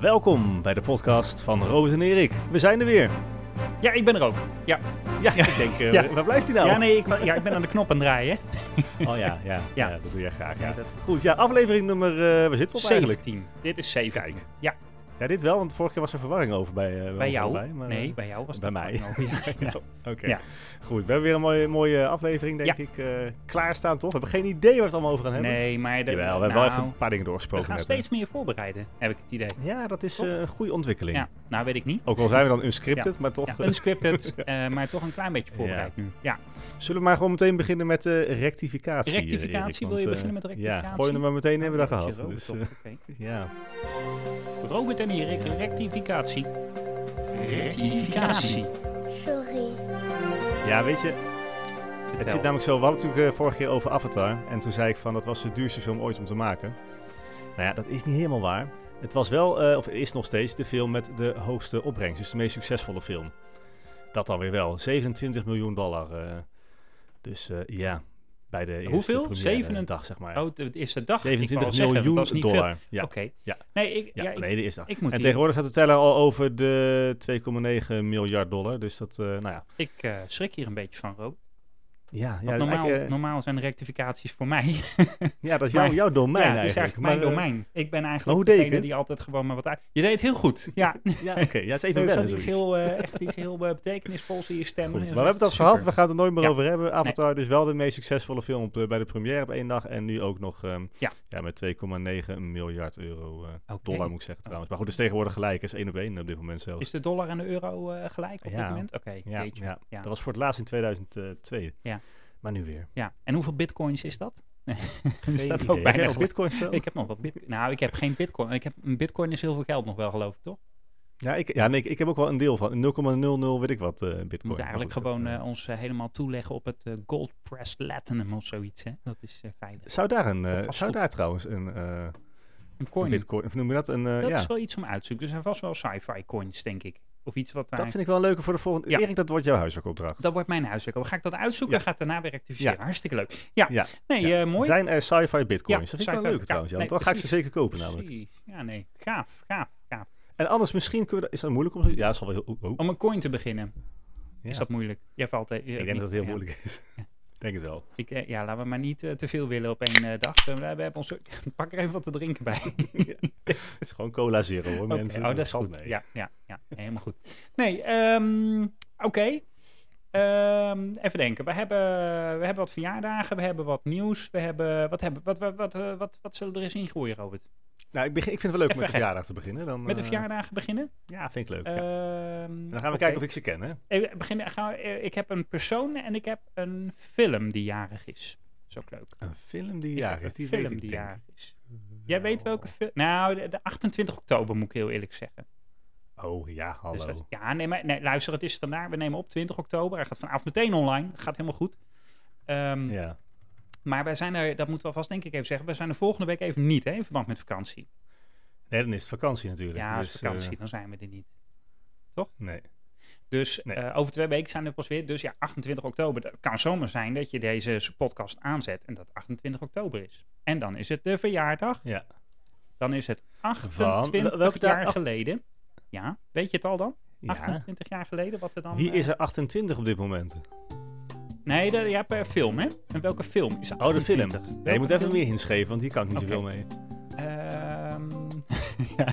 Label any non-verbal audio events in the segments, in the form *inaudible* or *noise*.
Welkom bij de podcast van Roos en Erik. We zijn er weer. Ja, ik ben er ook. Ja, Ja, ik denk, eh, Ja. waar- waar blijft hij nou? ja nee, ik, wa- ja, ik ben aan de knop aan het draaien. Oh ja, ja, ja. Ja. dat doe jij graag. Ja. Ja, dat- Goed, ja, aflevering nummer, eh waar zitten we op eigenlijk? 17. Dit is 7. Kijk. Ja, Ja, dit wel, want vorige keer was er verwarring over bij, eh, bij ons jou. allebei, maar, nee, eh, bij jou was bij dat mij. ook, ja. Ja. Oké, Ja. goed. We hebben weer een mooie, mooie aflevering, denk Ja. ik, eh, klaarstaan, toch? We hebben geen idee waar we het allemaal over gaan *laughs* hebben. Nee, maar de, Jawel, we hebben nou, wel even een eh, paar dingen we doorgesproken gaan net, hè. steeds meer voorbereiden, heb ik het idee. Ja, dat is Toch? eh, een goede ontwikkeling. Ja, nou weet ik *laughs* niet. Ook al zijn we dan unscripted, maar toch... Ja, unscripted, eh, maar toch een klein beetje voorbereid nu. Ja, Zullen we maar gewoon meteen beginnen met eh, rectificatie. eh, Rectificatie? Erik, Wil want, je eh, beginnen met rectificatie? Nou, Ja, gooi hem maar meteen hebben we dat Jeroen, gehad. Dus, top, eh, oké. ja. Robert en Erik, rectificatie. Rectificatie. Sorry. ja, weet je, het zit namelijk zo. We hadden natuurlijk eh, vorige keer over Avatar. En toen zei ik van dat was de duurste film ooit om te maken. Nou ja, dat is niet helemaal waar. Het was wel, eh, of is nog steeds, de film met de hoogste opbrengst. Dus de meest succesvolle film. Dat dan weer wel. 27 miljoen dollar. eh. dus eh, ja, bij de eerste Hoeveel? première 27 dag, zeg maar. Oh, de eerste dag. Ik wou al 27 zeggen, dat miljoen was niet veel. dollar. Ja. Oké. Ja. Nee, ik, Ja, ja, ik, nee, de eerste dag. ik moet En hier- tegenwoordig gaat de teller al over de 2,9 miljard dollar. Dus dat, eh, nou ja. ik eh, schrik hier een beetje van, Robert. Ja, ja, Want normaal, eigenlijk, eh, normaal zijn rectificaties voor mij. ja dat is jouw, maar- jouw domein eigenlijk. ja, dat is eigenlijk Maar, mijn eh, domein. Ik ben maar eigenlijk hoe deed ik degene het? die altijd gewoon maar wat uit... Je deed het heel goed. Ja, *laughs* eh, Ja, oké. Ja, het is even er wennen zat zoiets. iets heel, eh, echt iets heel eh, betekenisvols in je stem. Goed, Dat maar is we hebben het echt al super. gehad. We gaan het er nooit meer Ja. over hebben. Avatar dus wel de meest succesvolle film op de- bij de première op één dag. En nu ook nog ehm, ja. Ja. met 2,9 miljard euro eh, Oké. dollar moet ik zeggen trouwens. Maar goed, dus tegenwoordig gelijk. is één op één op dit moment zelfs. Is de dollar en de euro eh, gelijk op Ja. dit moment? Oké, ja, jeetje. ja. Ja. dat was voor het laatst in 2002. Ja. Maar nu *laughs* weer. Ja. En hoeveel bitcoins is dat? Geen staat ook idee. Heb bijna jij al gelijk. bitcoin staan? *laughs* Ik heb nog wat bitcoin. Nou, ik heb geen bitcoin. Ik heb, een bitcoin is heel veel geld nog wel, geloof ik, toch? Ja, ik, ja nee, ik, ik heb ook wel een deel van 0,00 weet ik wat eh bitcoin. We moeten eigenlijk Maar goed, gewoon dat, eh, eh, ons eh, helemaal toeleggen op het eh, gold press platinum of zoiets. Hè? Dat is eh, veilig. zou daar, een, eh, vastgoed. zou daar trouwens een, eh, Een een coin. bitcoin, of noem je dat? Een, eh, dat ja. is wel iets om uit te zoeken. Er zijn vast wel sci-fi coins, denk ik. Of iets wat daar... dat vind ik wel leuker voor de volgende. Ja. Erik, dat wordt jouw huiswerkopdracht. Dat wordt mijn huiswerk. Ga ik dat uitzoeken? Ja. Ga ik daarna weer rectificeren? Ja. Hartstikke leuk. Ja, Ja. nee, Ja. eh, mooi. Zijn er sci-fi bitcoins? Ja, dat vind ik wel sci-fi. leuk Ja, trouwens. Ja, want nee, dan ga ik ze precies. zeker kopen namelijk. Precies. Ja, nee. Gaaf, gaaf, gaaf. En anders misschien kunnen we... da- Is dat moeilijk om... zo- Ja, dat is wel heel... oh, oh. Om een coin te beginnen. Ja. Is dat moeilijk? Jij valt... eh, ik niet- denk dat het heel ja. moeilijk is. Ik denk het wel. Ik, eh, ja, laten we maar niet eh, te veel willen op één eh, dag. Eh, we hebben onze... *laughs* Pak er even wat te drinken bij. Het is gewoon cola zero hoor Oké, mensen. Oh, dat is valt goed. mee. Ja, ja, ja, helemaal goed. Nee, ehm, oké. Ehm, even denken. We hebben, we hebben wat verjaardagen, we hebben wat nieuws. We hebben, wat, hebben, wat, wat, wat, eh, wat, wat zullen er eens ingooien, Robert? Nou, ik, begin, ik vind het wel leuk om Even met de gek. verjaardag te beginnen. Dan, Met de eh, verjaardagen beginnen? Ja, vind ik leuk. ja. Ehm, En dan gaan we oké. kijken of ik ze ken, hè? Eh, we beginnen, gaan we, eh, ik heb een persoon en ik heb een film die jarig is. Dat is ook leuk. Een film die Ik heb jarig is. een Die film weet ik, die denk ik. jarig is. Jij weet welke film? Nou, de, de 28 oktober moet ik heel eerlijk zeggen. Oh ja, hallo. Dus dat- ja, nee, maar nee, luister, het is vandaag. We nemen op 20 oktober. Hij gaat vanavond meteen online. Gaat helemaal goed. Ehm, ja. Maar wij zijn er, dat moeten we alvast denk ik even zeggen. We zijn er volgende week even niet, hè, in verband met vakantie. Nee, dan is het vakantie natuurlijk. Ja, als dus, vakantie, eh, dan zijn we er niet. nee. Dus Nee. eh, over twee weken zijn we pas weer. Dus ja, 28 oktober. Dat kan zomaar zijn dat je deze podcast aanzet en dat 28 oktober is. En dan is het de verjaardag. Ja. Dan is het Wel- welke 28 dag? jaar Acht- geleden. Ja, weet je het al dan? ja. 28 jaar geleden wat er dan... Wie eh, is er 28 op dit moment? Nee, de, ja, per film, hè? En welke film is Oh, de film. 28? Nee, je Welke moet even film? meer inschrijven, want hier kan ik niet Oké. zoveel mee. Oh. Ehm, *laughs* ja,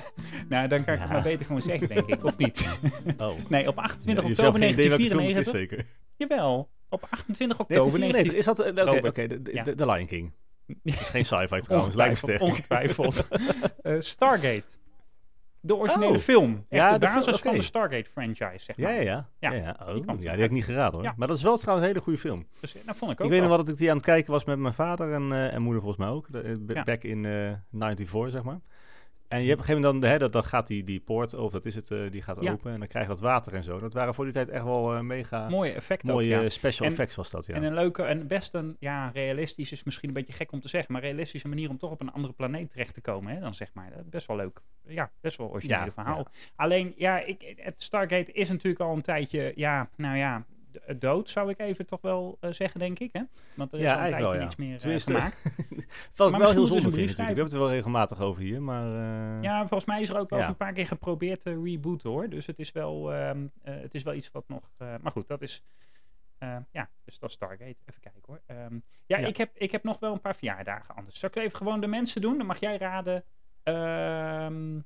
nou, dan kan ik het Ja. maar beter gewoon zeggen, denk ik. Of niet? *laughs* Oh. Nee, op 28 Ja, je hebt zelf oktober geen idee welke film het is, 1994. zeker. Jawel, op 28 oktober 1994. 1994. Is dat... eh, Oké, oké, Robert. de, de, Ja. de- de Lion King. Dat is geen *laughs* sci-fi trouwens, lijkt me sterk. *laughs* Ongetwijfeld. Eh, Stargate. De originele Oh. film. Echt Ja, de de basis film, oké. van de Stargate franchise, zeg Ja, maar. ja, ja. ja. Ja, ja. Oh, die ja, kwam die toen had ik niet geraden hoor. Ja. Maar dat is wel trouwens een hele goede film. Dus, eh, nou, vond ik ook Ik weet nog wel. wel dat ik die aan het kijken was met mijn vader en, eh, en moeder volgens mij ook. De- eh, b- Ja. Hm. Back in eh 94, zeg maar. En je hebt op een gegeven moment dan, hè, dat, dan gaat die, die poort, of dat is het, eh, die gaat Ja. open en dan krijg je dat water en zo. Dat waren voor die tijd echt wel eh, mega Mooie effecten ook, mooie ja. eh, special En- effects was dat, ja. En eh, een leuke en best een, ja, realistisch is misschien een beetje gek om te zeggen, maar realistische manier om toch op een andere planeet terecht te komen, hè, dan zeg maar. Dat is Best wel leuk. Ja, best wel originele Ja, verhaal. Alleen, ja, ik, het Stargate is natuurlijk al een tijdje, ja, nou ja, d- dood, zou ik even toch wel eh, zeggen, denk ik. Hè? Want er is Ja, al een eigenlijk tijdje wel, ja. niks meer eh, Tenminste, gemaakt. Wat ik Maar wel heel misschien moeten ze zonde een vind brief natuurlijk. We hebben het er wel regelmatig over hier, maar... eh, Ja, volgens mij is er ook wel eens Ja. een paar keer geprobeerd te rebooten hoor. Dus het is wel, ehm, eh, het is wel iets wat nog... eh, maar goed, dat is... eh, ja, dus dat is Stargate. Even kijken hoor. Ehm, ja, Ja. Ik, heb, ik heb nog wel een paar verjaardagen anders. Zal ik even gewoon de mensen doen? Dan mag jij raden... ehm,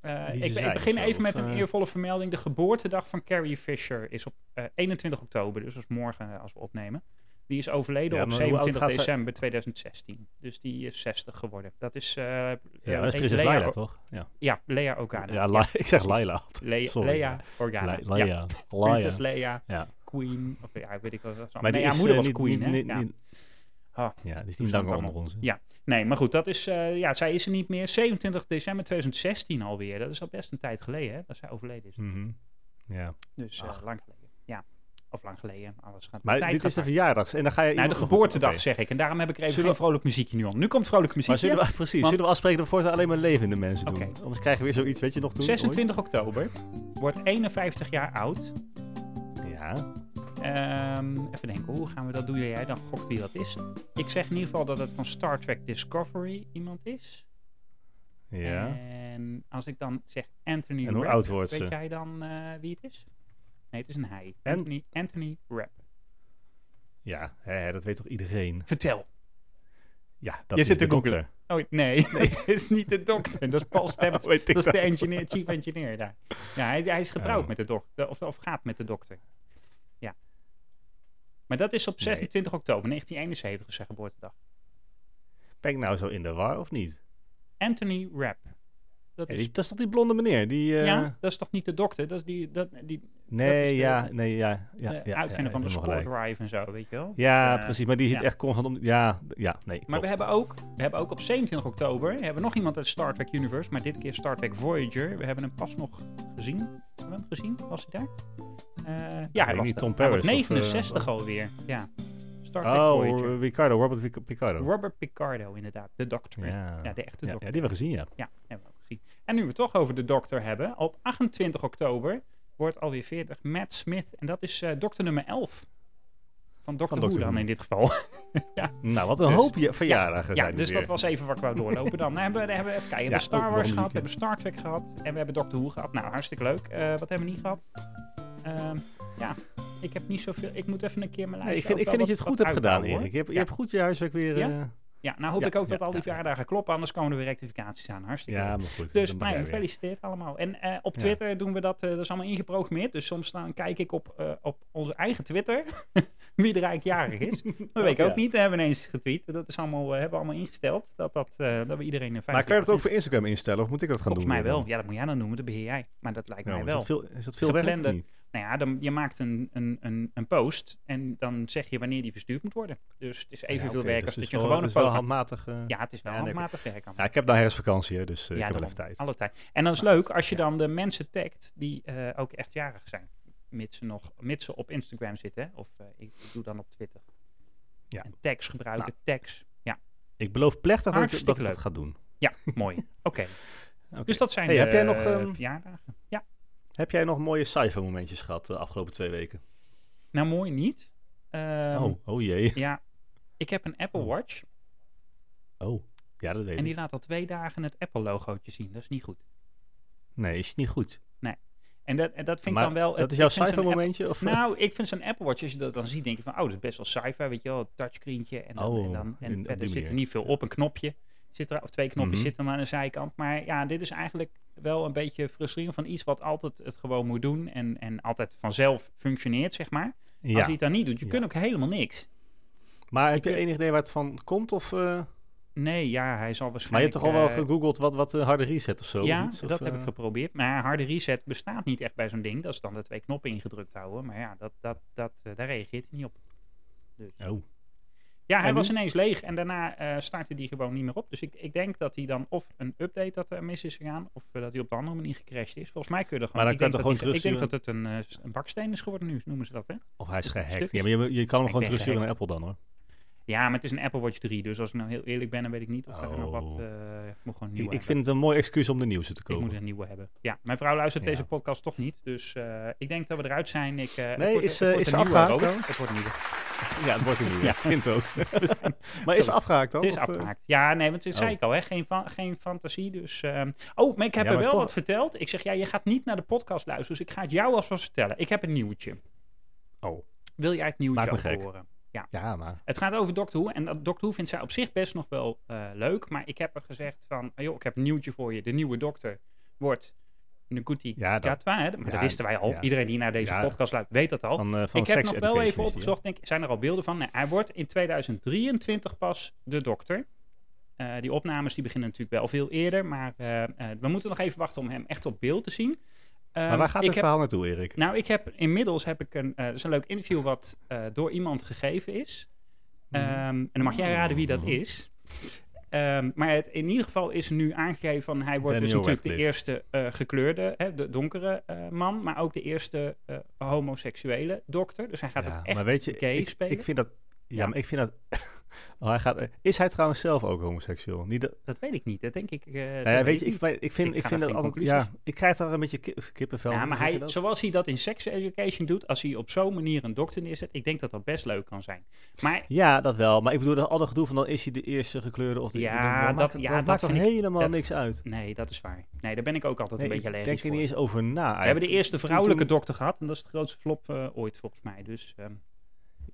eh, Wie ze ik, ik zijn begin of zo, even met of, een eh? eervolle vermelding. De geboortedag van Carrie Fisher is op eh, 21 oktober, dus dat is morgen eh, als we opnemen. Die is overleden Ja, op maar hoe oud 27 gaat zij- december 2016. Dus die is 60 geworden. Dat is... eh ja, Ja, dat is prinses Lea Laila, O- toch? Ja, ja, Lea Organa. ja La- *laughs* ik zeg Laila altijd. Lea, sorry. Lea Organa. La- Ja, Laila. Prinses Laila. Lea, Ja. Queen, of ja, weet ik wel. wat ze Maar allemaal- nee, die haar is, eh, moeder was niet- Queen, niet- hè? niet- Ja. niet- Ah. Ja, die is niet langer onder ons. hè? Ja. Nee, maar goed, dat is, eh, ja, zij is er niet meer. 27 december 2016 alweer. Dat is al best een tijd geleden, hè, dat zij overleden is. Mhm. Ja. Dus eh, Ach. lang geleden. Ja, of lang geleden. Alles gaat Maar tijd dit gaat is de hard. verjaardags. En dan ga je... Nou, de iemand- geboortedag Oké. zeg ik. En daarom heb ik er even Zullen geen vrolijk muziekje nu aan. Nu komt vrolijk Maar muziekje. zullen we, *laughs* precies, Want- zullen we afspreken dat we voortaan alleen maar levende mensen doen? Oké. Anders krijgen we weer zoiets, weet je nog toen? ooit? 26 oktober wordt 51 jaar oud. Ja. Ehm, even denken, hoe gaan we dat doen? Jij dan gokt wie dat is. Ik zeg in ieder geval dat het van Star Trek Discovery iemand is. Ja. Eh. En als ik dan zeg Anthony en hoe Rapp, oud wordt weet ze? jij dan eh, wie het is? Nee, het is een hij. En- Anthony, Anthony Rapp. Ja, hè, hè, dat weet toch iedereen? Vertel. Ja, Je dat is zit de te googlen. dokter. Oh, Oh, nee, dat is niet de dokter. *laughs* Dat is *laughs* Paul Stamets. Weet ik Dat is de dat. engineer, chief engineer daar. Ja, hij, hij is getrouwd Oh. met de dokter. Of, of gaat met de dokter. Ja. Maar dat is op Nee. 26 oktober 1971, is zijn geboortedag. Ben ik nou zo in de war of niet? Anthony Rapp. Dat Ja, is, die- dat is toch die blonde meneer? Die, eh, ja, dat is toch niet de dokter? Dat is die, dat, die dat is Nee, de- ja, nee, ja. ja, eh, ja, ja, uitvinder ja, van de helemaal Sport gelijk. Drive en zo, weet je wel? Ja, Eh, precies. Maar die zit ja. echt constant om... Ja, d- ja nee. Maar klopt. we hebben, ook, we hebben ook op 27 oktober hebben we nog iemand uit Star Trek Universe, maar dit keer Star Trek Voyager. We hebben hem pas nog gezien. Hebben we hem gezien? Was hij daar? Eh, ja, hij weet was niet, er. Tom Hij wordt Paris of, eh, 69 alweer. Ja. Star Trek Oh, Voyager. Ricardo, Robert Vic- Picardo. Robert Picardo, inderdaad. De dokter. Ja, ja. de Ja, echte ja, dokter. die hebben we gezien, ja. Ja, hebben we ook gezien. En nu we het toch over de dokter hebben. Op 28 oktober wordt alweer 40 Matt Smith. En dat is eh, dokter nummer 11. Van dokter Who Dr. dan Who. in dit geval. Nou, wat een Dus- hoop je- verjaardagen *laughs* ja, zijn er dus weer. dat was even wat ik wou doorlopen dan. Nou, hebben, we- dan hebben we even kijken. We Ja, hebben Star oh, waarom Wars gehad, we niet, hebben Star Trek gehad. En we hebben Doctor Who gehad. Nou, hartstikke leuk. Eh, wat hebben we niet gehad? Ehm, ja, ik heb niet zoveel. Ik moet even een keer mijn Nee, lijstje ik vind, ik Nou, ook vind dat wel je het wat- goed wat hebt gedaan, uitbouwen, Erik. hoor. Je hebt, je Ja. hebt goed je huiswerk weer... Ja? eh, Ja, Ja, nou hoop Ja, ik ook ja, dat al die ja, ja. verjaardagen kloppen. Anders komen er weer rectificaties aan. Hartstikke leuk. maar goed. Dus dan nou, ja, begrijp ik. gefeliciteerd allemaal. En eh, op Ja. Twitter doen we dat, eh, dat is allemaal ingeprogrammeerd. Dus soms dan kijk ik op, eh, op onze eigen Twitter *laughs* wie er eigenlijk jarig *laughs* is. dat weet ik Oh, Ja. ook niet, dat hebben we ineens getweet. Dat is allemaal, eh, hebben we allemaal ingesteld, dat, dat, eh, dat we iedereen een Maar kan je dat ook verjaardag voor Instagram instellen of moet ik dat gaan Volgens doen? mij weer wel. dan? Ja, dat moet jij dan noemen, dat beheer jij. Maar dat lijkt Ja, mij maar is wel. dat veel- Is dat veel werk? Geplande- of niet? Nou ja, dan, je maakt een, een, een, een post en dan zeg je wanneer die verstuurd moet worden. Dus het is evenveel Ja, oké, werk dus als het dat is je wel- gewoon een het is post wel maakt. handmatig. eh, Ja, het is wel Ja, lekker. handmatig werk aan. Ja, ik heb nou herfstvakantie, hè, dus eh, ik heb wel daarom. even tijd. Alle tijd. En dan is Maar leuk goed, als je ja. dan de mensen tagt die eh, ook echt jarig zijn. Mits ze, nog, mits ze op Instagram zitten. hè. Of eh, ik, ik doe dan op Twitter. Ja. Nou. En tags gebruiken, tags. Ja, Ik beloof plechtig dat ik, Hartstikke dat ik dat leuk. ga doen. ja mooi. *laughs* Oké. Oké. Dus dat zijn Hey, de heb jij nog, eh, ehm, verjaardagen. Ja, Heb jij nog mooie cijfermomentjes gehad de afgelopen twee weken? nou mooi niet. Ehm, oh, oh jee. Ja, ik heb een Apple Oh, Watch. Oh, ja, dat weet En ik. die laat al twee dagen het Apple logootje zien. Dat is niet goed. Nee, is niet goed. En dat, en dat vind Maar ik dan wel... dat het- is jouw ik vind zo'n Apple- cijfermomentje? Of? eh? Nou, ik vind zo'n Apple Watch, als je dat dan ziet, denk je van, oh, dat is best wel sci-fi, weet je wel, een touchscreentje. En, dan, Oh, en, dan, en in- op verder die zit er manier. niet veel op, een knopje, zit er, of twee knopjes Mhm. zitten aan de zijkant. Maar ja, dit is eigenlijk wel een beetje frustrerend van iets wat altijd het gewoon moet doen en, en altijd vanzelf functioneert, zeg maar. Als ja. je het dan niet doet, je Ja. kunt ook helemaal niks. Maar heb ik- je enig idee waar het van komt? Of, eh, Nee, ja, hij zal maar je waarschijnlijk... hebt toch al wel eh, gegoogeld wat, wat een harde reset of zo? of Ja, iets, of, dat heb eh, ik geprobeerd. Maar harde reset bestaat niet echt bij zo'n ding. Dat is dan de twee knoppen ingedrukt houden. Maar ja, dat, dat, dat, eh, daar reageert hij niet op. Oh, Ja, hij En nu? was ineens leeg en daarna eh startte die gewoon niet meer op. Dus ik, ik denk dat hij dan of een update dat er mis is gegaan, of eh, dat hij op de andere manier gecrashed is. Volgens mij kun je er gewoon... Maar dan ik kan denk je toch dat die- Ik denk gewoon dat het een, eh, s- een baksteen is geworden nu, noemen ze dat, hè? of oh, hij is Stukjes. gehackt. Ja, maar je, je kan hem Ik ben gewoon terugsturen naar gehackt. Apple dan hoor. Ja, maar het is een Apple Watch 3, dus als ik nou heel eerlijk ben, dan weet ik niet of daar nog wat... Oh. eh, ik moet gewoon een Ik, nieuwe ik hebben. vind het een mooi excuus om de nieuwste te Ik kopen. moet een nieuwe hebben. Ja, mijn vrouw luistert Ja. deze podcast toch niet, dus eh, ik denk dat we eruit zijn. Ik, eh, het Nee, wordt- is, het eh, wordt is een ze nieuwe, afgehaakt Robert. trouwens? Het wordt een nieuwe. Ja, het wordt een nieuwe. *laughs* Ja. Ik vind het ook. maar is Sorry. het afgehaakt dan? Het is of, eh? afgehaakt. Dus Ja, nee, want dat zei Oh. ik al, hè? Geen, fa- geen fantasie. Dus, ehm, Oh, maar ik heb Ja, er maar wel toch- wat verteld. Ik zeg, ja, je gaat niet naar de podcast luisteren, dus ik ga het jou alvast vertellen. Ik heb een nieuwtje. Oh. Wil jij het nieuwtje Maak me ook gek. horen? Ja, maar... Het gaat over Doctor Who. En dat Doctor Who vindt zij op zich best nog wel eh, leuk. Maar ik heb er gezegd van, "Ah, joh, ik heb een nieuwtje voor je. De nieuwe dokter wordt Nkuti Ja, dat- Gatwa. hè? Maar ja, dat wisten wij al. ja. Iedereen die naar deze Ja. podcast luistert, weet dat al. Van, eh, van ik heb Sex nog wel Education is even die, hè? opgezocht. Denk, zijn er al beelden van? Nee, hij wordt in 2023 pas de dokter. Eh, die opnames die beginnen natuurlijk wel veel eerder. Maar eh, eh, we moeten nog even wachten om hem echt op beeld te zien. Ehm, Maar waar gaat ik het heb verhaal naartoe, Erik? nou, ik heb inmiddels heb ik een, eh, dat is een leuk interview wat eh, door iemand gegeven is. Ehm, en dan mag jij raden wie dat Mhm. is. Ehm, maar het, in ieder geval is nu aangegeven van hij wordt dus Daniel natuurlijk de Radcliffe. eerste eh, gekleurde, hè, de donkere eh, man, maar ook de eerste eh, homoseksuele dokter. Dus hij gaat Ja, ook echt maar weet je, gay ik, spelen. ik vind dat... Ja, Ja. maar ik vind dat... *laughs* Oh, hij gaat, is hij trouwens zelf ook homoseksueel? Niet dat, dat weet ik niet. Dat denk ik. eh, dat nou ja, weet ik je, ik, niet. maar ik vind, Ik ik ga vind daar dat geen altijd... Ja, conclusies. ik krijg daar een beetje ki- kippenvel ja, van, maar zeg je hij, dat? zoals hij dat in sex education doet, als hij op zo'n manier een dokter neerzet, ik denk dat dat best leuk kan zijn. Maar Ja, dat wel. Maar ik bedoel, dat al dat gedoe van dan is hij de eerste gekleurde of de... Ja, ik denk, maar dat- maakt- ja, dat dat maakt toch vind ik- helemaal dat- niks uit? nee, dat is waar. Nee, daar ben ik ook altijd Nee, een beetje ik allergisch denk er voor. niet eens over na. We hebben de eerste vrouwelijke Ah, toen- dokter gehad. En dat is de grootste flop eh, ooit, volgens mij. Dus ehm,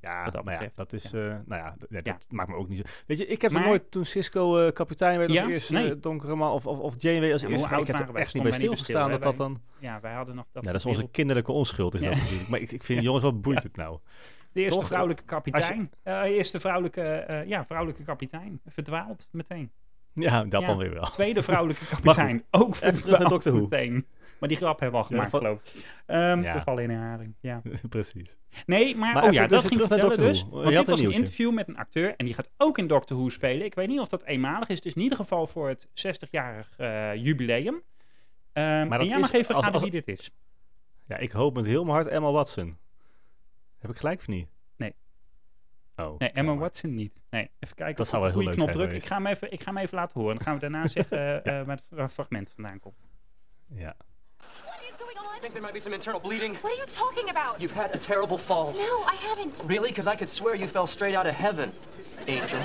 Ja, wat dat maar ja, betreft. dat is... eh, nou ja, d- ja, dat Ja. maakt me ook niet zo... Weet je, ik heb nog Maar- nooit toen Cisco eh, kapitein werd als Ja? eerste Nee. eh, donkere man... Of, of, of Janeway als Ja, eerste maar vrouw, hoe Ik oud heb waren er wij? echt niet bij Stonden wij niet stilgestaan bij dat stil, dat dan... ja, wij hadden nog dat. Ja, dat is onze beeld. kinderlijke onschuld is dat Ja. *laughs* natuurlijk. Maar ik, ik vind, jongens, wat boeit het nou? de eerste toch, vrouwelijke kapitein. Eh, eerste vrouwelijke, eh, ja, vrouwelijke kapitein. Verdwaald meteen. Ja, dat Ja. dan weer wel. *laughs* Tweede vrouwelijke kapitein. ook verdwaald terug naar Doctor Who. meteen. Maar die grap hebben we al Ja, gemaakt, van- geloof ik. Ehm, Ja. We vallen in herhaling. Ja. Precies. Nee, maar, Maar oh even ja, dus dat weer ging terug naar vertellen Doctor dus. Who. Want Je dit had een was een nieuwtje. interview met een acteur en die gaat ook in Doctor Who spelen. Ik weet niet of dat eenmalig is. Het is in ieder geval voor het 60-jarig eh, jubileum. Ehm, en dat jij is- mag even als- raden als- wie dit is. Ja, ik hoop met heel mijn hart Emma Watson. Heb ik gelijk of niet? Nee. Oh. Nee, Emma jammer. Watson niet. Nee, even kijken. Dat of zou wel ik heel op de goede leuk knop zijn druk. Ik ga, hem even, ik ga hem even laten horen. Dan gaan we daarna *laughs* zeggen eh, eh, waar het- waar het fragment vandaan komt. Ja. What is going I on? think there might be some internal bleeding. What are you talking about? You've had a terrible fall. No, I haven't. Really? Because I could swear you fell straight out of heaven, Angel.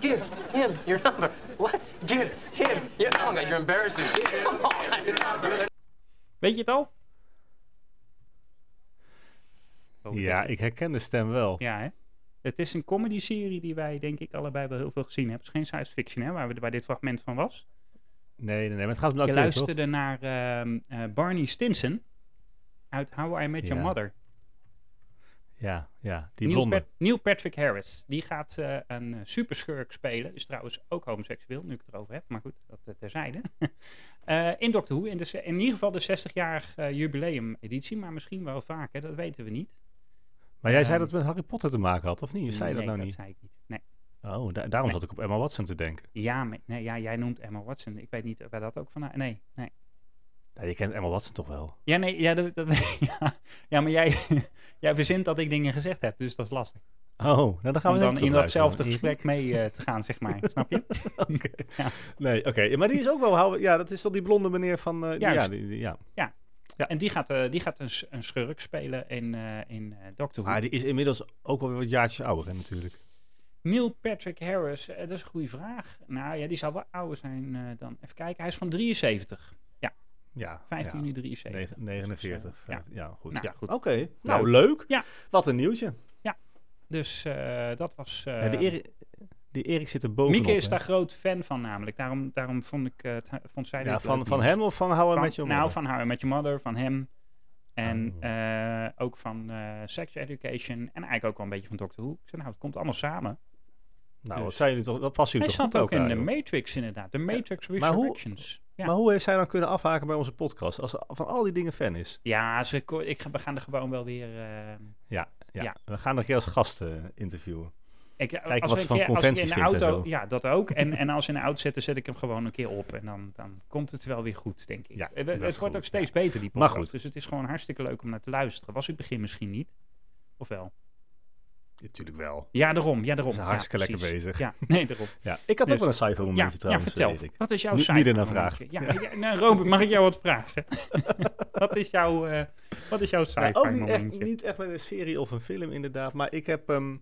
Give him your number. What? Give him your number. Oh, You're embarrassing. Come on. Weet je het al? Oh, ja, ik herken de stem wel. Ja, hè? Het is een comedy-serie die wij, denk ik, allebei wel heel veel gezien hebben. Het is geen science fiction, hè, waar, we, waar dit fragment van was. Nee, nee, nee. Maar het gaat om de Je acteur, toch? luisterde naar ehm, eh, Barney Stinson uit How I Met Your Ja, Mother. Ja, ja. Die Neil, blonde. Pat- Neil Patrick Harris. Die gaat eh, een eh, superschurk spelen. Is trouwens ook homoseksueel, nu ik het erover heb. Maar goed, dat eh, terzijde. *laughs* Eh, in Doctor Who. In, de, se- in ieder geval de 60-jarig eh, jubileum-editie. Maar misschien wel vaker, dat weten we niet. Maar jij zei Ehm, dat het met Harry Potter te maken had, of niet? Of zei je nee, dat nou dat niet? zei ik niet. Nee. Oh, da- daarom zat ik op Emma Watson te denken. Ja, maar- nee, ja, jij noemt Emma Watson. Ik weet niet waar dat ook vandaan... Nee, nee. Ja, je kent Emma Watson toch wel? Ja, nee, ja, dat, dat- *laughs* ja, ja maar jij, *laughs* jij verzint dat ik dingen gezegd heb, dus dat is lastig. Oh, nou dan gaan Om we dan in datzelfde gesprek. gesprek mee eh, te gaan, zeg maar. Snap je? *laughs* Oké. *laughs* Ja. Nee, oké. Ja, Maar die is ook wel... hou- Ja, dat is toch die blonde meneer van... eh, die- ja, Juist. die, die- ja. En die gaat, eh, die gaat een, s- een schurk spelen in, eh in eh, Doctor Who. Maar die is inmiddels ook wel weer wat jaartjes ouder, hè, natuurlijk. Neil Patrick Harris, eh, dat is een goede vraag. Nou ja, die zou wel ouder zijn eh, dan. Even kijken, hij is van 73. Ja. 15 ja. juni 73. Negen- 49. Dus, eh, ja. Ja, ja goed. Nou, ja. goed. Oké. Nou, leuk. Ja. Wat een nieuwtje. Dus eh, dat was... eh, Ja, die, Erik, die Erik zit er bovenop. Mieke is hè? daar groot fan van namelijk. Daarom, daarom vond, ik, eh, het- vond zij Ja, dit van, leuk van nieuws. hem of van Hou Van- met je Nou, van How I Met Your Mother, van hem. En Oh. eh, ook van eh Sex Education. En eigenlijk ook wel een beetje van Doctor Who. Ik zei, nou, het komt allemaal samen. Nou, dus. wat zijn jullie toch? Wat passen Hij jullie toch zat goed bij ook in de elkaar, joh. Matrix inderdaad. De Matrix maar hoe- Resurrections. ja. Maar hoe heeft zij dan kunnen afhaken bij onze podcast? Als ze van al die dingen fan is. ja, ze, ko- ik, ga- we gaan er gewoon wel weer... eh, Ja, ja. Ja. we gaan nog keer als gasten interviewen. ik, Kijken als wat we ze een van keer, als ik in conventies de vindt en auto, zo. Ja, dat *laughs* ook. En, en als ze in de auto zitten, zet ik hem gewoon een keer op. En dan, dan komt het wel weer goed, denk ik. Ja, Eh, we- dat het is wordt goed, ook steeds beter, die Maar podcast. goed. Dus het is gewoon hartstikke leuk om naar te luisteren. Was in het begin misschien niet. Of wel? Natuurlijk wel. Ja, daarom. Ja, daarom. Ze zijn hartstikke ja, lekker precies. bezig. Ja, nee, daarom. Ja, ik had Dus- ook wel een cijfer Ja, momentje ja, trouwens. eh, vertel. weet ik. Wat is jouw Wie- wie cijfer? ernaar vraagt. Ja, ja, nou, Robert, mag ik jou wat vragen? *laughs* wat, is jouw, eh, wat is jouw Ja, cijfer? ook niet oh, echt, momentje? niet echt met een serie of een film, inderdaad. Maar ik heb... ehm,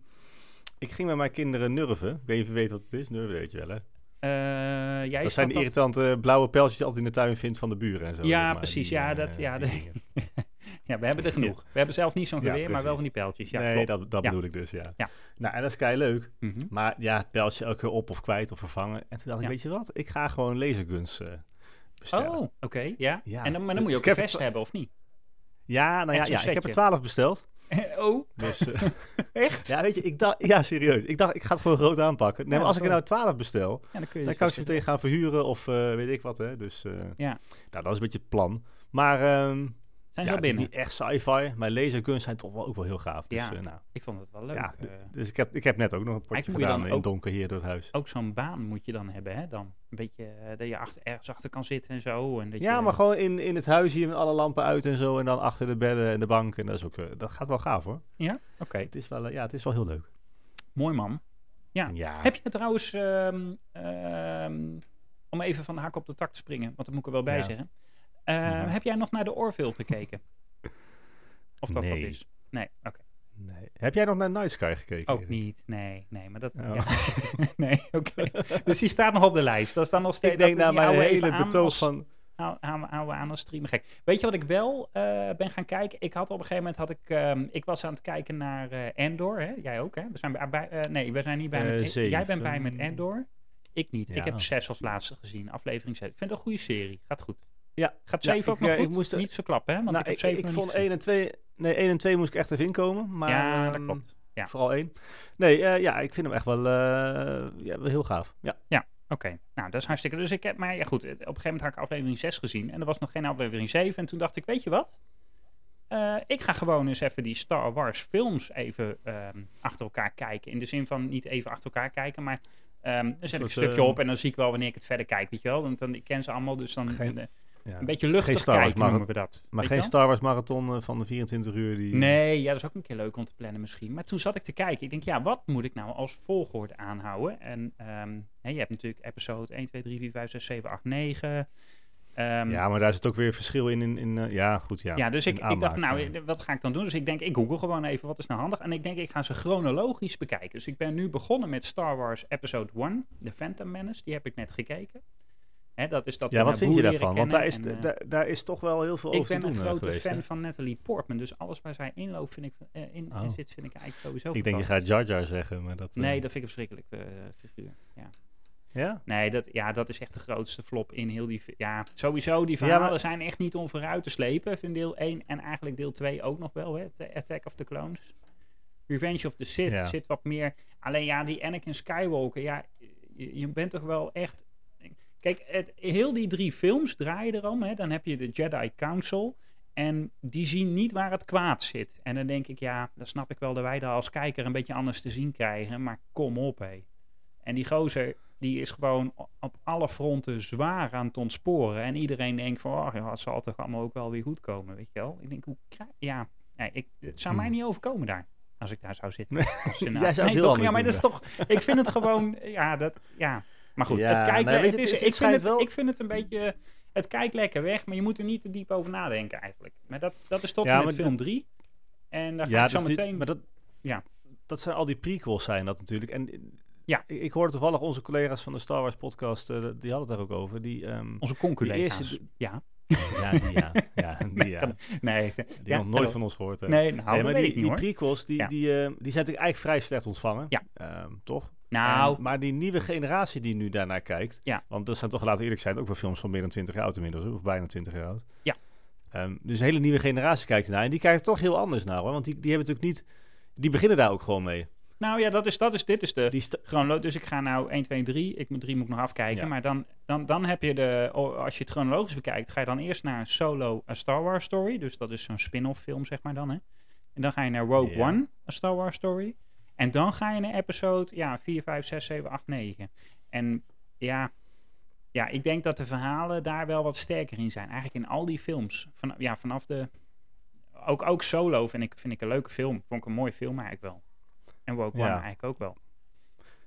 ik ging met mijn kinderen nurven. Ik weet niet of je weet wat het is. Nurven weet je wel, hè? Eh, jij Dat schat zijn die irritante eh, blauwe pijltjes die je altijd in de tuin vindt van de buren en zo. Ja, zeg maar. precies. Die, Ja, eh, dat- ja, die de- dingen. Ja, we hebben er genoeg. We hebben zelf niet zo'n Ja, geweer, maar precies. wel van die pijltjes. Ja, nee, klopt. dat, dat Ja. bedoel ik dus, ja. Ja. Nou, en dat is kei leuk. Mhm. Maar ja, het pijltje elke keer op of kwijt of vervangen. En toen dacht ik, Ja. weet je wat? Ik ga gewoon laserguns eh, bestellen. Oh, oké. ja. Ja, En dan, maar dan moet dus je ook ik een heb vest het- hebben, of niet? *laughs* Ja, nou ja, Echt zo'n ja ik heb setje. er twaalf *laughs* besteld. oh, Dus, eh, echt? ja, weet je, ik dacht... Ja, serieus. Ik dacht, ik ga het gewoon groot aanpakken. Nee, Ja, maar als ik er zo. nou twaalf bestel, Ja, dan kun je dan dus kan ik vast ze meteen gaan verhuren of eh, weet ik wat, hè. Dus, eh, Ja. Nou, dat is een beetje het plan. Maar... ehm, Zijn ja, ze al het is binnen? niet echt sci-fi, maar laserguns zijn toch wel ook wel heel gaaf. Dus, Ja. eh, nou, Ik vond het wel leuk. ja, eh. dus ik, heb, ik heb net ook nog een potje Eigenlijk moet je gedaan dan in ook- donker hier door het huis. ook zo'n baan moet je dan hebben, hè? Dan een beetje eh, dat je achter, ergens achter kan zitten en zo. En dat Ja, je, maar gewoon in, in het huis hier met alle lampen uit en zo. En dan achter de bedden en de bank. En dat, is ook, eh, dat gaat wel gaaf hoor. Ja, oké. Het is wel, eh, ja, het is wel heel leuk. Mooi man. Ja. Ja. Heb je trouwens, ehm, ehm, om even van de hak op de tak te springen, want dat moet ik er wel bij Ja. zeggen. Eh, Mhm. Heb jij nog naar de Orville *laughs* gekeken? of dat Nee. wat is? Nee, oké. Nee. Heb jij nog naar Night Sky gekeken? Ook niet, nee, nee, maar dat... Oh. ja. *laughs* nee, oké. Dus die staat nog op de lijst. Dat is dan nog steeds... Ik denk dat- na die mijn houden we even hele aan betoog als- van... Hou- hou- Houden we aan als streamen gek. Weet je wat ik wel eh, ben gaan kijken? Ik had op een gegeven moment, had ik, ehm, ik was aan het kijken naar eh Endor. Hè? Jij ook, hè? We zijn bij, bij- eh, nee, we zijn niet bij Eh, met, Jij bent bij met zeven. Endor. Ik niet. Ik Ja. heb zes als laatste gezien. Aflevering 6. Ik vind het een goede serie. Gaat goed. Ja, Gaat Ja, zeven ook ik, nog eh, goed? ik moest er- Niet verklappen, hè? Want nou, ik heb ik, zeven ik nog vond niet gezien. 1 en 2... Nee, 1 en 2 moest ik echt even inkomen. Maar, Ja, dat ehm, klopt. Ja. Vooral 1. Nee, eh, ja, ik vind hem echt wel, eh, ja, wel heel gaaf. Ja. Oké, nou dat is hartstikke. Dus ik heb, maar ja goed, eh, op een gegeven moment had ik aflevering 6 gezien en er was nog geen aflevering 7. En toen dacht ik, weet je wat? Eh, ik ga gewoon eens even die Star Wars films even ehm, achter elkaar kijken. In de zin van niet even achter elkaar kijken, maar ehm, dan zet ik een soort, stukje eh, op en dan zie ik wel wanneer ik het verder kijk, weet je wel? Want dan ik ken ze allemaal, dus dan Geen- eh, ja. een beetje luchtig Geen Star Wars kijken noemen we dat. Maar weet geen je wel? Star Wars marathon eh, van de 24 uur die... Nee, ja, dat is ook een keer leuk om te plannen misschien. Maar toen zat ik te kijken. Ik denk, ja, wat moet ik nou als volgorde aanhouden? En ehm, hè, je hebt natuurlijk episode 1, 2, 3, 4, 5, 6, 7, 8, 9. Ehm, ja, Ja, maar daar zit ook weer verschil in. in, in eh, ja, goed, ja. dus In ik, ik aanmaak, dacht, nou, ja. eh, wat ga ik dan doen? Dus ik denk, ik google gewoon even wat is nou handig. En ik denk, ik ga ze chronologisch bekijken. Dus ik ben nu begonnen met Star Wars Episode 1, The Phantom Menace. Die heb ik net gekeken. Hè, dat is dat we Ja, wat Naboo vind je leren daarvan? Want daar is, kennen en, eh, daar, daar is toch wel heel veel ik over ben te een doen eh, grote geweest. hè? fan van Natalie Portman. Dus alles waar zij inloopt, vind ik, eh, in, in Oh. zit, vind ik eigenlijk sowieso Ik denk, je fantastisch. gaat Jar Jar zeggen, maar dat... eh, Nee, dat vind ik een verschrikkelijk eh, figuur. Ja. Ja? Nee, dat, ja, dat is echt de grootste flop in heel die... fi- Ja, sowieso, die Ja, verhalen maar- zijn echt niet om vooruit te slepen. In deel 1 en eigenlijk deel 2 ook nog wel, hè. T- Attack of the Clones. Revenge of the Sith Ja. zit wat meer... Alleen ja, die Anakin Skywalker, ja, je, je bent toch wel echt... Kijk, het, heel die drie films draaien erom, hè. Dan heb je de Jedi Council... En die zien niet waar het kwaad zit. En dan denk ik, ja, dan snap ik wel dat wij daar als kijker een beetje anders te zien krijgen. Maar kom op, hé. En die gozer, die is gewoon o- op alle fronten zwaar aan het ontsporen. En iedereen denkt van, oh ja, het zal toch allemaal ook wel weer goed komen, weet je wel. Ik denk, hoe krijg... Ja, nee, ik, het zou mij Hmm. niet overkomen daar. Als ik daar zou zitten. Nee, Als *laughs* senator. jij zou nee, veel toch? anders Ja, maar dat doen is toch... Ik vind het gewoon... Ja, dat... Ja. Maar goed, Ja, het kijkt... nou, le- weet het je, het- is, het ik, vind schijnt het, wel- ik vind het een beetje... Het kijkt lekker weg, maar je moet er niet te diep over nadenken eigenlijk. Maar dat, dat is toch Ja, met maar film 3. En daar ga ja, ik zo dus die- meteen... maar dat, Ja. dat zijn al die prequels zijn dat natuurlijk. En eh, Ja. ik, ik hoorde toevallig onze collega's van de Star Wars podcast, eh, die hadden het daar ook over. Die, ehm, Onze die conculega's. eerste- *laughs* Ja. ja, die ja. *laughs* ja, die, ja. kan- Nee. ze- Die ja, nog nooit daarom. van ons gehoord. hè. Nee, nou, Nee, dat maar weet die, ik niet die hoor. prequels, die, Ja. die, eh, die zijn natuurlijk eigenlijk vrij slecht ontvangen. Ja. Ehm, toch? Nou, En- maar die nieuwe generatie die nu daarnaar kijkt. Ja. Want dat zijn toch, laten we eerlijk zijn, ook wel films van meer dan 20 jaar oud inmiddels. Of bijna 20 jaar oud. Ja. Ehm, dus een hele nieuwe generatie kijkt ernaar. En die kijkt er toch heel anders naar hoor. Want die, die hebben natuurlijk niet. Die beginnen daar ook gewoon mee. nou ja, dat is, dat is, dit is de... Die sta- chronolo- dus ik ga nou 1, 2, 3. Ik moet 3 moet ik nog afkijken. Ja. Maar dan, dan, dan heb je de. o- Als je het chronologisch bekijkt, ga je dan eerst naar Solo A Star Wars Story. Dus dat is zo'n spin-off film, zeg maar dan. Hè? En dan ga je naar Rogue Ja. One, A Star Wars Story. En dan ga je naar episode ja, 4, 5, 6, 7, 8, 9. En ja, ja, ik denk dat de verhalen daar wel wat sterker in zijn. Eigenlijk in al die films. Van, ja, vanaf de. Ook, ook solo vind ik, vind ik een leuke film. Vond ik een mooie film eigenlijk wel. En Ja. Rogue One eigenlijk ook wel.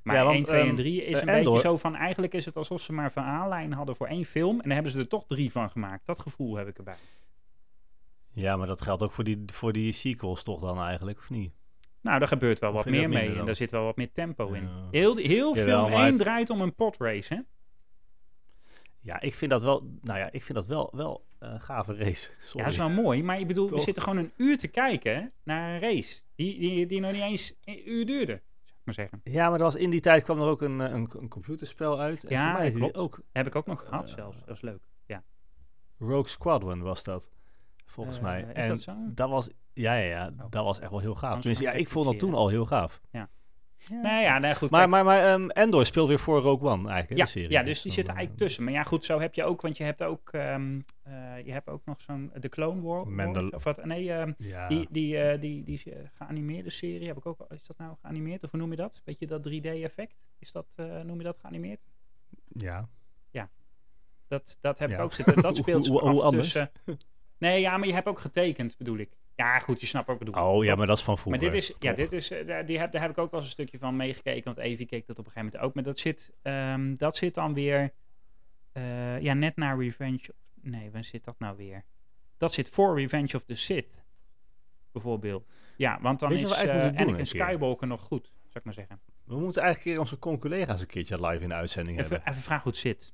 Maar Ja, want, 1, 2 ehm, en 3 is eh, een Andor- beetje zo van... Eigenlijk is het alsof ze maar van aanlijn hadden voor één film. En daar hebben ze er toch drie van gemaakt. Dat gevoel heb ik erbij. Ja, maar dat geldt ook voor die, voor die sequels toch dan eigenlijk, of niet? Nou, daar gebeurt wel Of wat vind je meer dat mee. minder dan? En daar zit wel wat meer tempo in. Ja. Heel, heel Jawel, film maar 1 het- draait om een potrace, hè? Ja, ik vind dat wel, nou ja, ik vind dat wel, wel een gave race. *laughs* Ja, Sorry. dat is wel mooi. Maar ik bedoel, we Toch? zitten gewoon een uur te kijken naar een race. Die, die, die nog niet eens een uur duurde, zou ik maar zeggen. Ja, maar er was, in die tijd kwam er ook een, eh, een, een computerspel uit. En Ja, voor mij is die klopt. ook Heb ik ook nog gehad Eh, zelfs. Dat is leuk. Ja. Rogue Squadron was dat, volgens Eh, mij. is en dat zo? was, ja, ja, ja, Oh. dat was echt wel heel gaaf. Anders Tenminste, ga ja, ik ik vond dat toen rectificeren. al heel gaaf. Nou ja, nou goed. Maar, kijk, maar, maar ehm, Endor speelt weer voor Rogue One eigenlijk, hè, ja, de serie. ja, dus die dan, zitten eh, eigenlijk tussen. Maar ja, goed, zo heb je ook, want je hebt ook, ehm, eh, je hebt ook nog zo'n The Clone War. Mandal- Wars, of wat? Nee, ehm, Ja, die, die, eh, die, die eh, geanimeerde serie heb ik ook. Is dat nou geanimeerd of hoe noem je dat? Beetje dat 3D-effect? Is dat, eh, noem je dat geanimeerd? ja. Dat, dat heb ik Ja. ook zitten. Dat speelt zich *laughs* Hoe- hoe af anders? tussen. Nee, ja, maar je hebt ook getekend, bedoel ik. Ja, goed, je snapt wat ik bedoel. Oh ja, maar dat is van Maar vroeger. dit is, ja, toch? dit is, eh, daar- die heb, daar heb ik ook wel eens een stukje van meegekeken. Want Evie keek dat op een gegeven moment ook. Maar dat zit, ehm, dat zit dan weer, eh, ja, net na Revenge. Nee, waar zit dat nou weer? Dat zit voor Revenge of the Sith, bijvoorbeeld. Ja, want dan Weet je is wat we eh eigenlijk moeten doen Anakin een keer? Skywalker nog goed, zou ik maar zeggen. We moeten eigenlijk een keer onze con-collega's een keertje live in de uitzending Even, hebben. even vragen hoe het zit.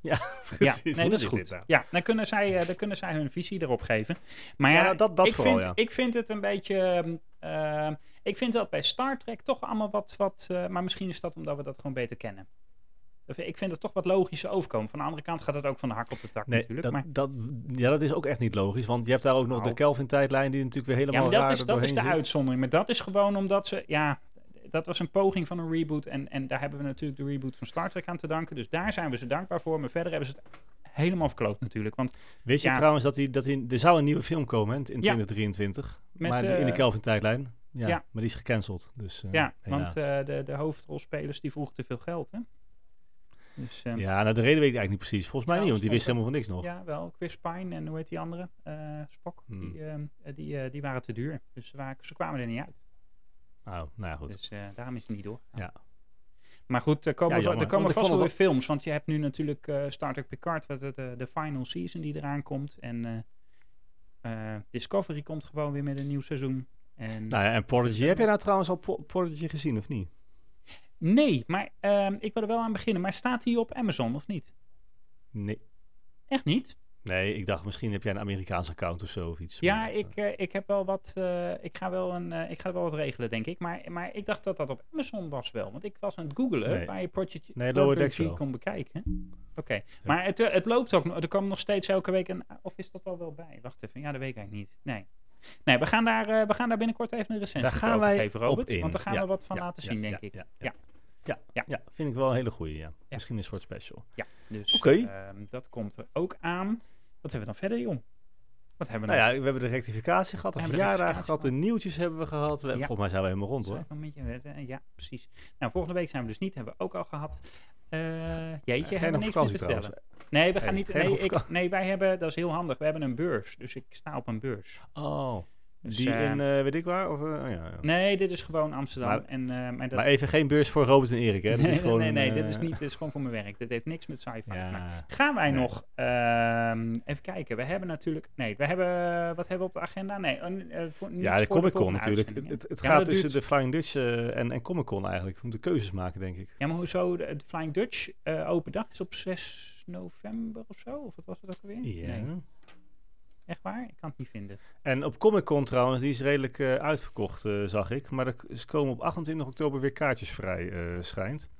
Ja, Ja, *laughs* precies. nee, Hoe dat is zit dit goed. nou? Ja, dan kunnen, zij, eh, dan kunnen zij hun visie erop geven. Maar ja, Ja, dat- dat ik, vooral, vind, ja. ik vind het een beetje... ehm, ehm, ik vind dat bij Star Trek toch allemaal wat... wat eh, maar misschien is dat omdat we dat gewoon beter kennen. Of Ik vind het toch wat logischer overkomen. Van de andere kant gaat het ook van de hak op de tak Nee, natuurlijk. dat, maar, dat, ja, dat is ook echt niet logisch, want je hebt daar ook nog Nou. de Kelvin-tijdlijn die natuurlijk weer ja, helemaal maar raar dat is, er dat is de doorheen zit. uitzondering. Maar dat is gewoon omdat ze... Ja, dat was een poging van een reboot. En, en daar hebben we natuurlijk de reboot van Star Trek aan te danken. Dus daar zijn we ze dankbaar voor. Maar verder hebben ze het helemaal verkloot natuurlijk. Want Wist je Ja. trouwens dat, die, dat die, er zou een nieuwe film komen hè, in 2023, Met, maar in de eh, Kelvin-tijdlijn. Ja, ja. maar die is gecanceld. Dus, eh, Ja, helaas. want eh, de, de hoofdrolspelers die vroegen te veel geld, hè? Dus, ehm, ja. ja, nou, de reden weet ik eigenlijk niet precies. Volgens mij Ja, niet, want die wist volgens helemaal van niks nog. wel. Chris Pine en hoe heet die andere? Eh, Spock. Hmm. Die, ehm, eh, die, eh, die waren te duur. Dus ze, waren, ze kwamen er niet uit. Nou, nou ja, goed. Dus eh, daarom is het niet door. Ja. Maar goed, er komen, Ja, zo- jammer. er komen Want ik vast wel vond weer het films. Want je hebt nu natuurlijk eh Star Trek Picard, wat, het, eh, de final season die eraan komt. En eh, eh, Discovery komt gewoon weer met een nieuw seizoen. En Nou ja, en Prodigy, heb jij nou trouwens al Po- Prodigy gezien of niet? Nee, maar ehm, ik wil er wel aan beginnen. Maar staat hij op Amazon of niet? Nee. Echt niet? Nee, ik dacht misschien heb jij een Amerikaans account of zo of iets. Ja, maar dat, eh, ik, eh, ik heb wel wat. eh, ik, ga wel een, eh, ik ga wel wat regelen, denk ik. Maar, maar ik dacht dat dat op Amazon was wel. Want ik was aan het googlen Nee. waar je Project Nee, Lower Decks Prodigy wel. kon bekijken. Oké, maar het, eh, het loopt ook. nog- Er komt nog steeds elke week een. Of is dat al wel bij? Wacht even. Ja, dat weet ik eigenlijk niet. Nee. Nee, we gaan daar, eh, we gaan daar binnenkort even een recensie Daar voor gaan over wij geven, op Robert. in. Want daar gaan Ja, we wat van ja, laten ja, zien, ja, denk ik. ja, Ja, ja. Ja, Ja. ja. vind ik wel een hele goeie, ja. Misschien een soort special. dus Oké. ehm, dat komt er ook aan. Wat hebben we dan verder, jong? Wat hebben we Nou dan? ja, we hebben de rectificatie gehad, de We hebben de verjaardag rectificatie gehad, de nieuwtjes hebben we gehad. We- Ja. Volgens mij zijn we helemaal rond hoor. Zou ik nog met je wedden? Ja, precies. Nou, volgende week zijn we dus niet. Hebben we ook al gehad. Eh, nog jeetje, hebben we niks meer te vakantie vertellen. trouwens? Nee, we gaan Hey, niet. ga je nog Nee, op ik, vakantie? nee, wij hebben. Dat is heel handig. We hebben een beurs. Dus ik sta op een beurs. Oh, Dus, die eh, in eh, weet ik waar? Of, eh, oh, ja, ja. Nee, dit is gewoon Amsterdam. Maar- en, eh, maar dat, *laughs* Maar even geen beurs voor Robert en Erik, hè? Dat nee, is gewoon nee, nee, een, dit is eh, niet. Dit is gewoon voor mijn werk. Dit heeft niks met sci-fi. te maken. Ja, Gaan wij Nee. nog. ehm, even kijken. We hebben natuurlijk. Nee, we hebben. Wat hebben we op de agenda? Nee, een, eh, voor, niks ja de voor Comic Con volgende natuurlijk. Het, uitzending, het, het hè? Ja, maar gaat dat tussen de duurt- Flying Dutch eh, en, en Comic Con eigenlijk. We moeten keuzes maken, denk ik. Ja, maar hoezo? De, de Flying Dutch eh, open dag is op 6 november of zo? Of wat was het ook alweer? Nee, echt waar? Ik kan het niet vinden. En op Comic Con trouwens, die is redelijk eh, uitverkocht, eh, zag ik. Maar er k- ze komen op 28 oktober weer kaartjes vrij, eh, schijnt.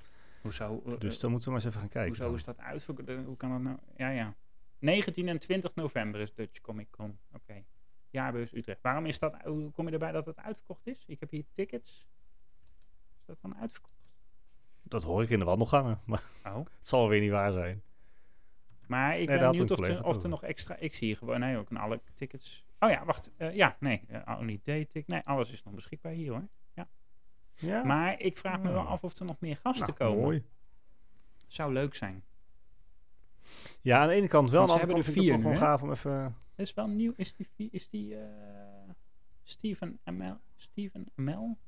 Hoezo, eh, Dus eh, dan moeten we maar eens even gaan kijken. hoezo dan. is dat uitverkocht? Eh, Hoe kan dat nou? Ja, ja. 19 en 20 november is Dutch Comic Con. Oké. Jaarbeurs Utrecht. Waarom is dat? Hoe kom je erbij dat het uitverkocht is? Ik heb hier tickets. Is dat dan uitverkocht? Dat hoor ik in de wandelgangen, *laughs* maar Oh. het zal weer niet waar zijn. Maar ik daar ben had benieuwd een of, er- collega het of er over. nog extra... Ik zie hier gewoon... Nee, ook in alle tickets... Oh ja, wacht. Eh, ja, nee. eh, only day ticket. Nee, alles is nog beschikbaar hier hoor. Ja, Maar ik vraag me wel Ah. af of er nog meer gasten Nou, komen. mooi. Zou leuk zijn. Ja, aan de ene kant wel, aan Want de ze andere kant hebben vind ik het er ook wel gewoon vier gaaf om even... Dat is wel nieuw. Is die, is die eh Steven ML? Steven ML?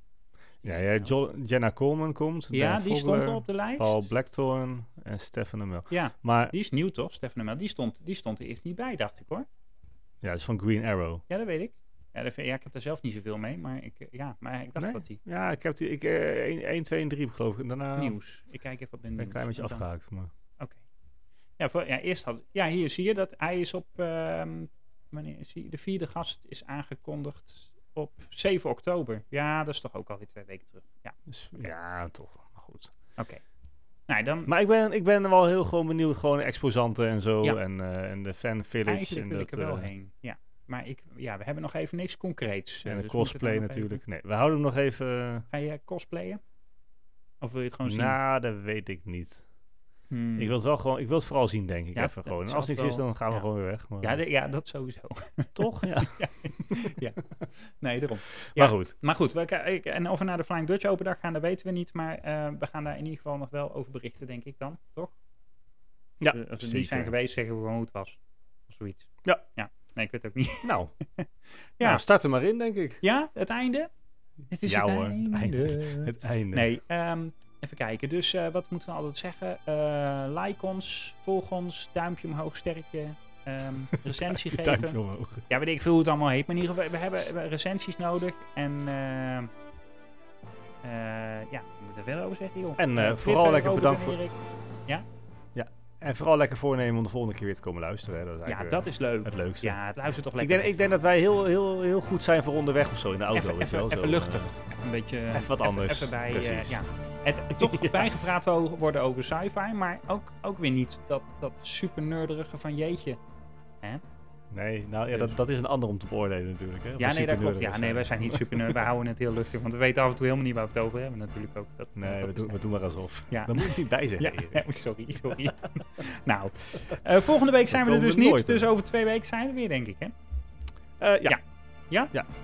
Ja, ja Jo- Jenna Coleman komt. Ja, Dan die stond Fogler, al op de lijst. Paul Blackthorne en Stefan de Mel. Ja, Maar die is nieuw toch, Stefan de Mel? Die stond, die stond er eerst niet bij, dacht ik hoor. ja, dat is van Green Arrow. Ja, dat weet ik. Ja, dat vind- ja ik heb er zelf niet zoveel mee, maar ik, eh, ja, maar ik dacht Nee? dat die Ja, ik heb die ik, eh 1, 2 en 3 geloof ik. En daarna ben nieuws. Ik kijk even op de ik nieuws. Nou. een klein beetje Want dan- afgehaakt. Maar. Oké. Ja, voor, ja, eerst had. Ja, hier zie je dat hij is op. ehm, wanneer zie je? De vierde gast is aangekondigd op 7 oktober. Ja, dat is toch ook alweer twee weken terug. Ja, Dus, ja, toch. Maar goed. oké. Nou, dan. Maar ik ben, ik ben wel heel gewoon benieuwd. Gewoon exposanten en zo. Ja. En, eh, en de fan village. eigenlijk En, wil dat, ik er wel eh, heen. Ja, maar ik, ja, we hebben nog even niks concreets. eh, en de dus moet ik het cosplay dan nog even- natuurlijk. Nee, we houden hem nog even... eh, Ga je cosplayen? Of wil je het gewoon zien? Nou, dat weet ik niet. Hmm. Ik wil het wel gewoon... Ik wil het vooral zien, denk ik. Ja, even dat gewoon. En zou als het niks is, wel- dan gaan we ja. gewoon weer weg. Maar, *laughs* ja, de- ja, dat sowieso. *laughs* toch? Ja. Nee, daarom. *laughs* Maar goed. Maar goed, we, ik- en of we naar de Flying Dutch Open Dag gaan, dat weten we niet. Maar eh, we gaan daar in ieder geval nog wel over berichten, denk ik dan, toch? Ja, Eh, Als we er zeker. niet zijn geweest, zeggen we gewoon hoe het was. Of zoiets. Ja. ja. Nee, ik weet het ook niet. *laughs* Nou, Ja. nou, start er maar in, denk ik. Ja, het einde? Het is Ja het hoor, het *laughs* einde. Het *laughs* einde. Nee, ehm, even kijken. Dus eh, wat moeten we altijd zeggen? Eh, like ons, volg ons, duimpje omhoog, sterretje, *laughs* ehm, recensie Die geven. duimpje omhoog. Ja, weet ik veel hoe het allemaal heet. Maar in ieder geval, we hebben, we hebben recensies nodig. En eh, eh, ja, we moeten er veel over zeggen, joh. En, eh, Twitter, vooral lekker Robert en bedankt voor- Erik. En vooral lekker voornemen om de volgende keer weer te komen luisteren. Hè. Dat is Ja, eigenlijk, dat is leuk. het leukste. Ja, het luistert toch eh, ik, lekker. denk, ik denk dat wij heel, heel, heel goed zijn voor onderweg of zo in de auto. even, weet je wel, even, even zo. eh, luchtig. Even een beetje... even wat anders. Even, bij... eh, Precies. ja. Het, het toch *laughs* Ja. bijgepraat wo- worden over sci-fi, maar ook, ook weer niet dat, dat super nerderige van jeetje. Nee, nou ja, dat, dat is een ander om te beoordelen natuurlijk. Hè. Of Ja, we nee, dat klopt. supernerders Ja, nee, zijn. wij zijn niet super nerd. wij houden het heel luchtig, want we weten af en toe helemaal niet waar we het over hebben natuurlijk ook. Dat, Nee, dat we is doen, we doen maar alsof. Ja. Dan moet ik niet bij zeggen. Ja, Erik. *laughs* *laughs* sorry, sorry. nou, eh, volgende week zijn we er komen dus we niet. nooit, hè? Dus over twee weken zijn we weer, denk ik, hè? Eh, ja. Ja. Ja.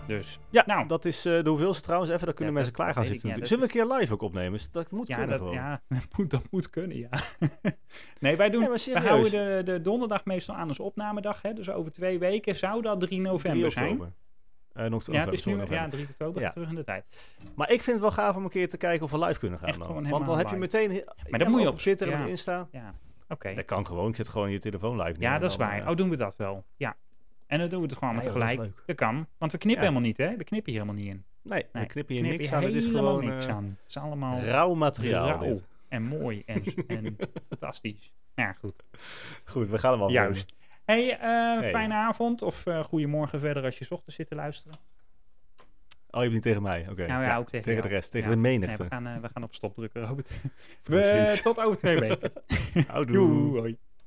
Dus, nou. nou. dat is eh, de hoeveelste trouwens. Even, daar kunnen Ja, mensen dat- klaar gaan dat zitten weet ik, ja, natuurlijk. Zullen we een keer live ook opnemen? Dus Dat moet ja, kunnen dat, gewoon. ja *laughs* dat, moet, dat moet kunnen, ja. *laughs* nee, wij doen... Nee, maar we serieus. houden de, de donderdag meestal aan als opnamedag, hè? Dus over twee weken zou dat 3 november 3 zijn. oktober. Eh, nog- Ja, het sorry, is nu november. ja, 3 oktober, Ja. terug in de tijd. Maar ik vind het wel gaaf om een keer te kijken of we live kunnen gaan. Echt dan. gewoon Want dan helemaal heb je live. meteen... Maar dat moet je op- Twitter en ja. op Insta. Ja, oké. Dat kan gewoon. Ik zit gewoon je telefoon live. neer Ja, en dat is dan, waar. eh, Oh, doen we dat wel. Ja. En dan doen we het gewoon Ja, allemaal joh, dat is tegelijk. leuk. Dat kan. Want we knippen Ja. helemaal niet, hè? We knippen hier helemaal niet in. nee, Nee, we knippen hier Knip niks je aan. Het is helemaal gewoon niks eh, aan. Het is allemaal rauw materiaal. rauw dit. en mooi en, *laughs* en fantastisch. Nou ja, goed. Goed, we gaan hem afronden. Juist. Hey, eh, Hey. fijne avond of eh goedemorgen verder als je 's ochtends zit te luisteren. Oh, je hebt niet tegen mij. Oké. nou ja, ook tegen Tegen de jou. rest. Tegen Ja. de Nee, menigte. *laughs* we gaan, eh, we gaan op stop drukken, Robert. We, Precies. *laughs* tot over twee weken. Houdoe. Doei. hoi.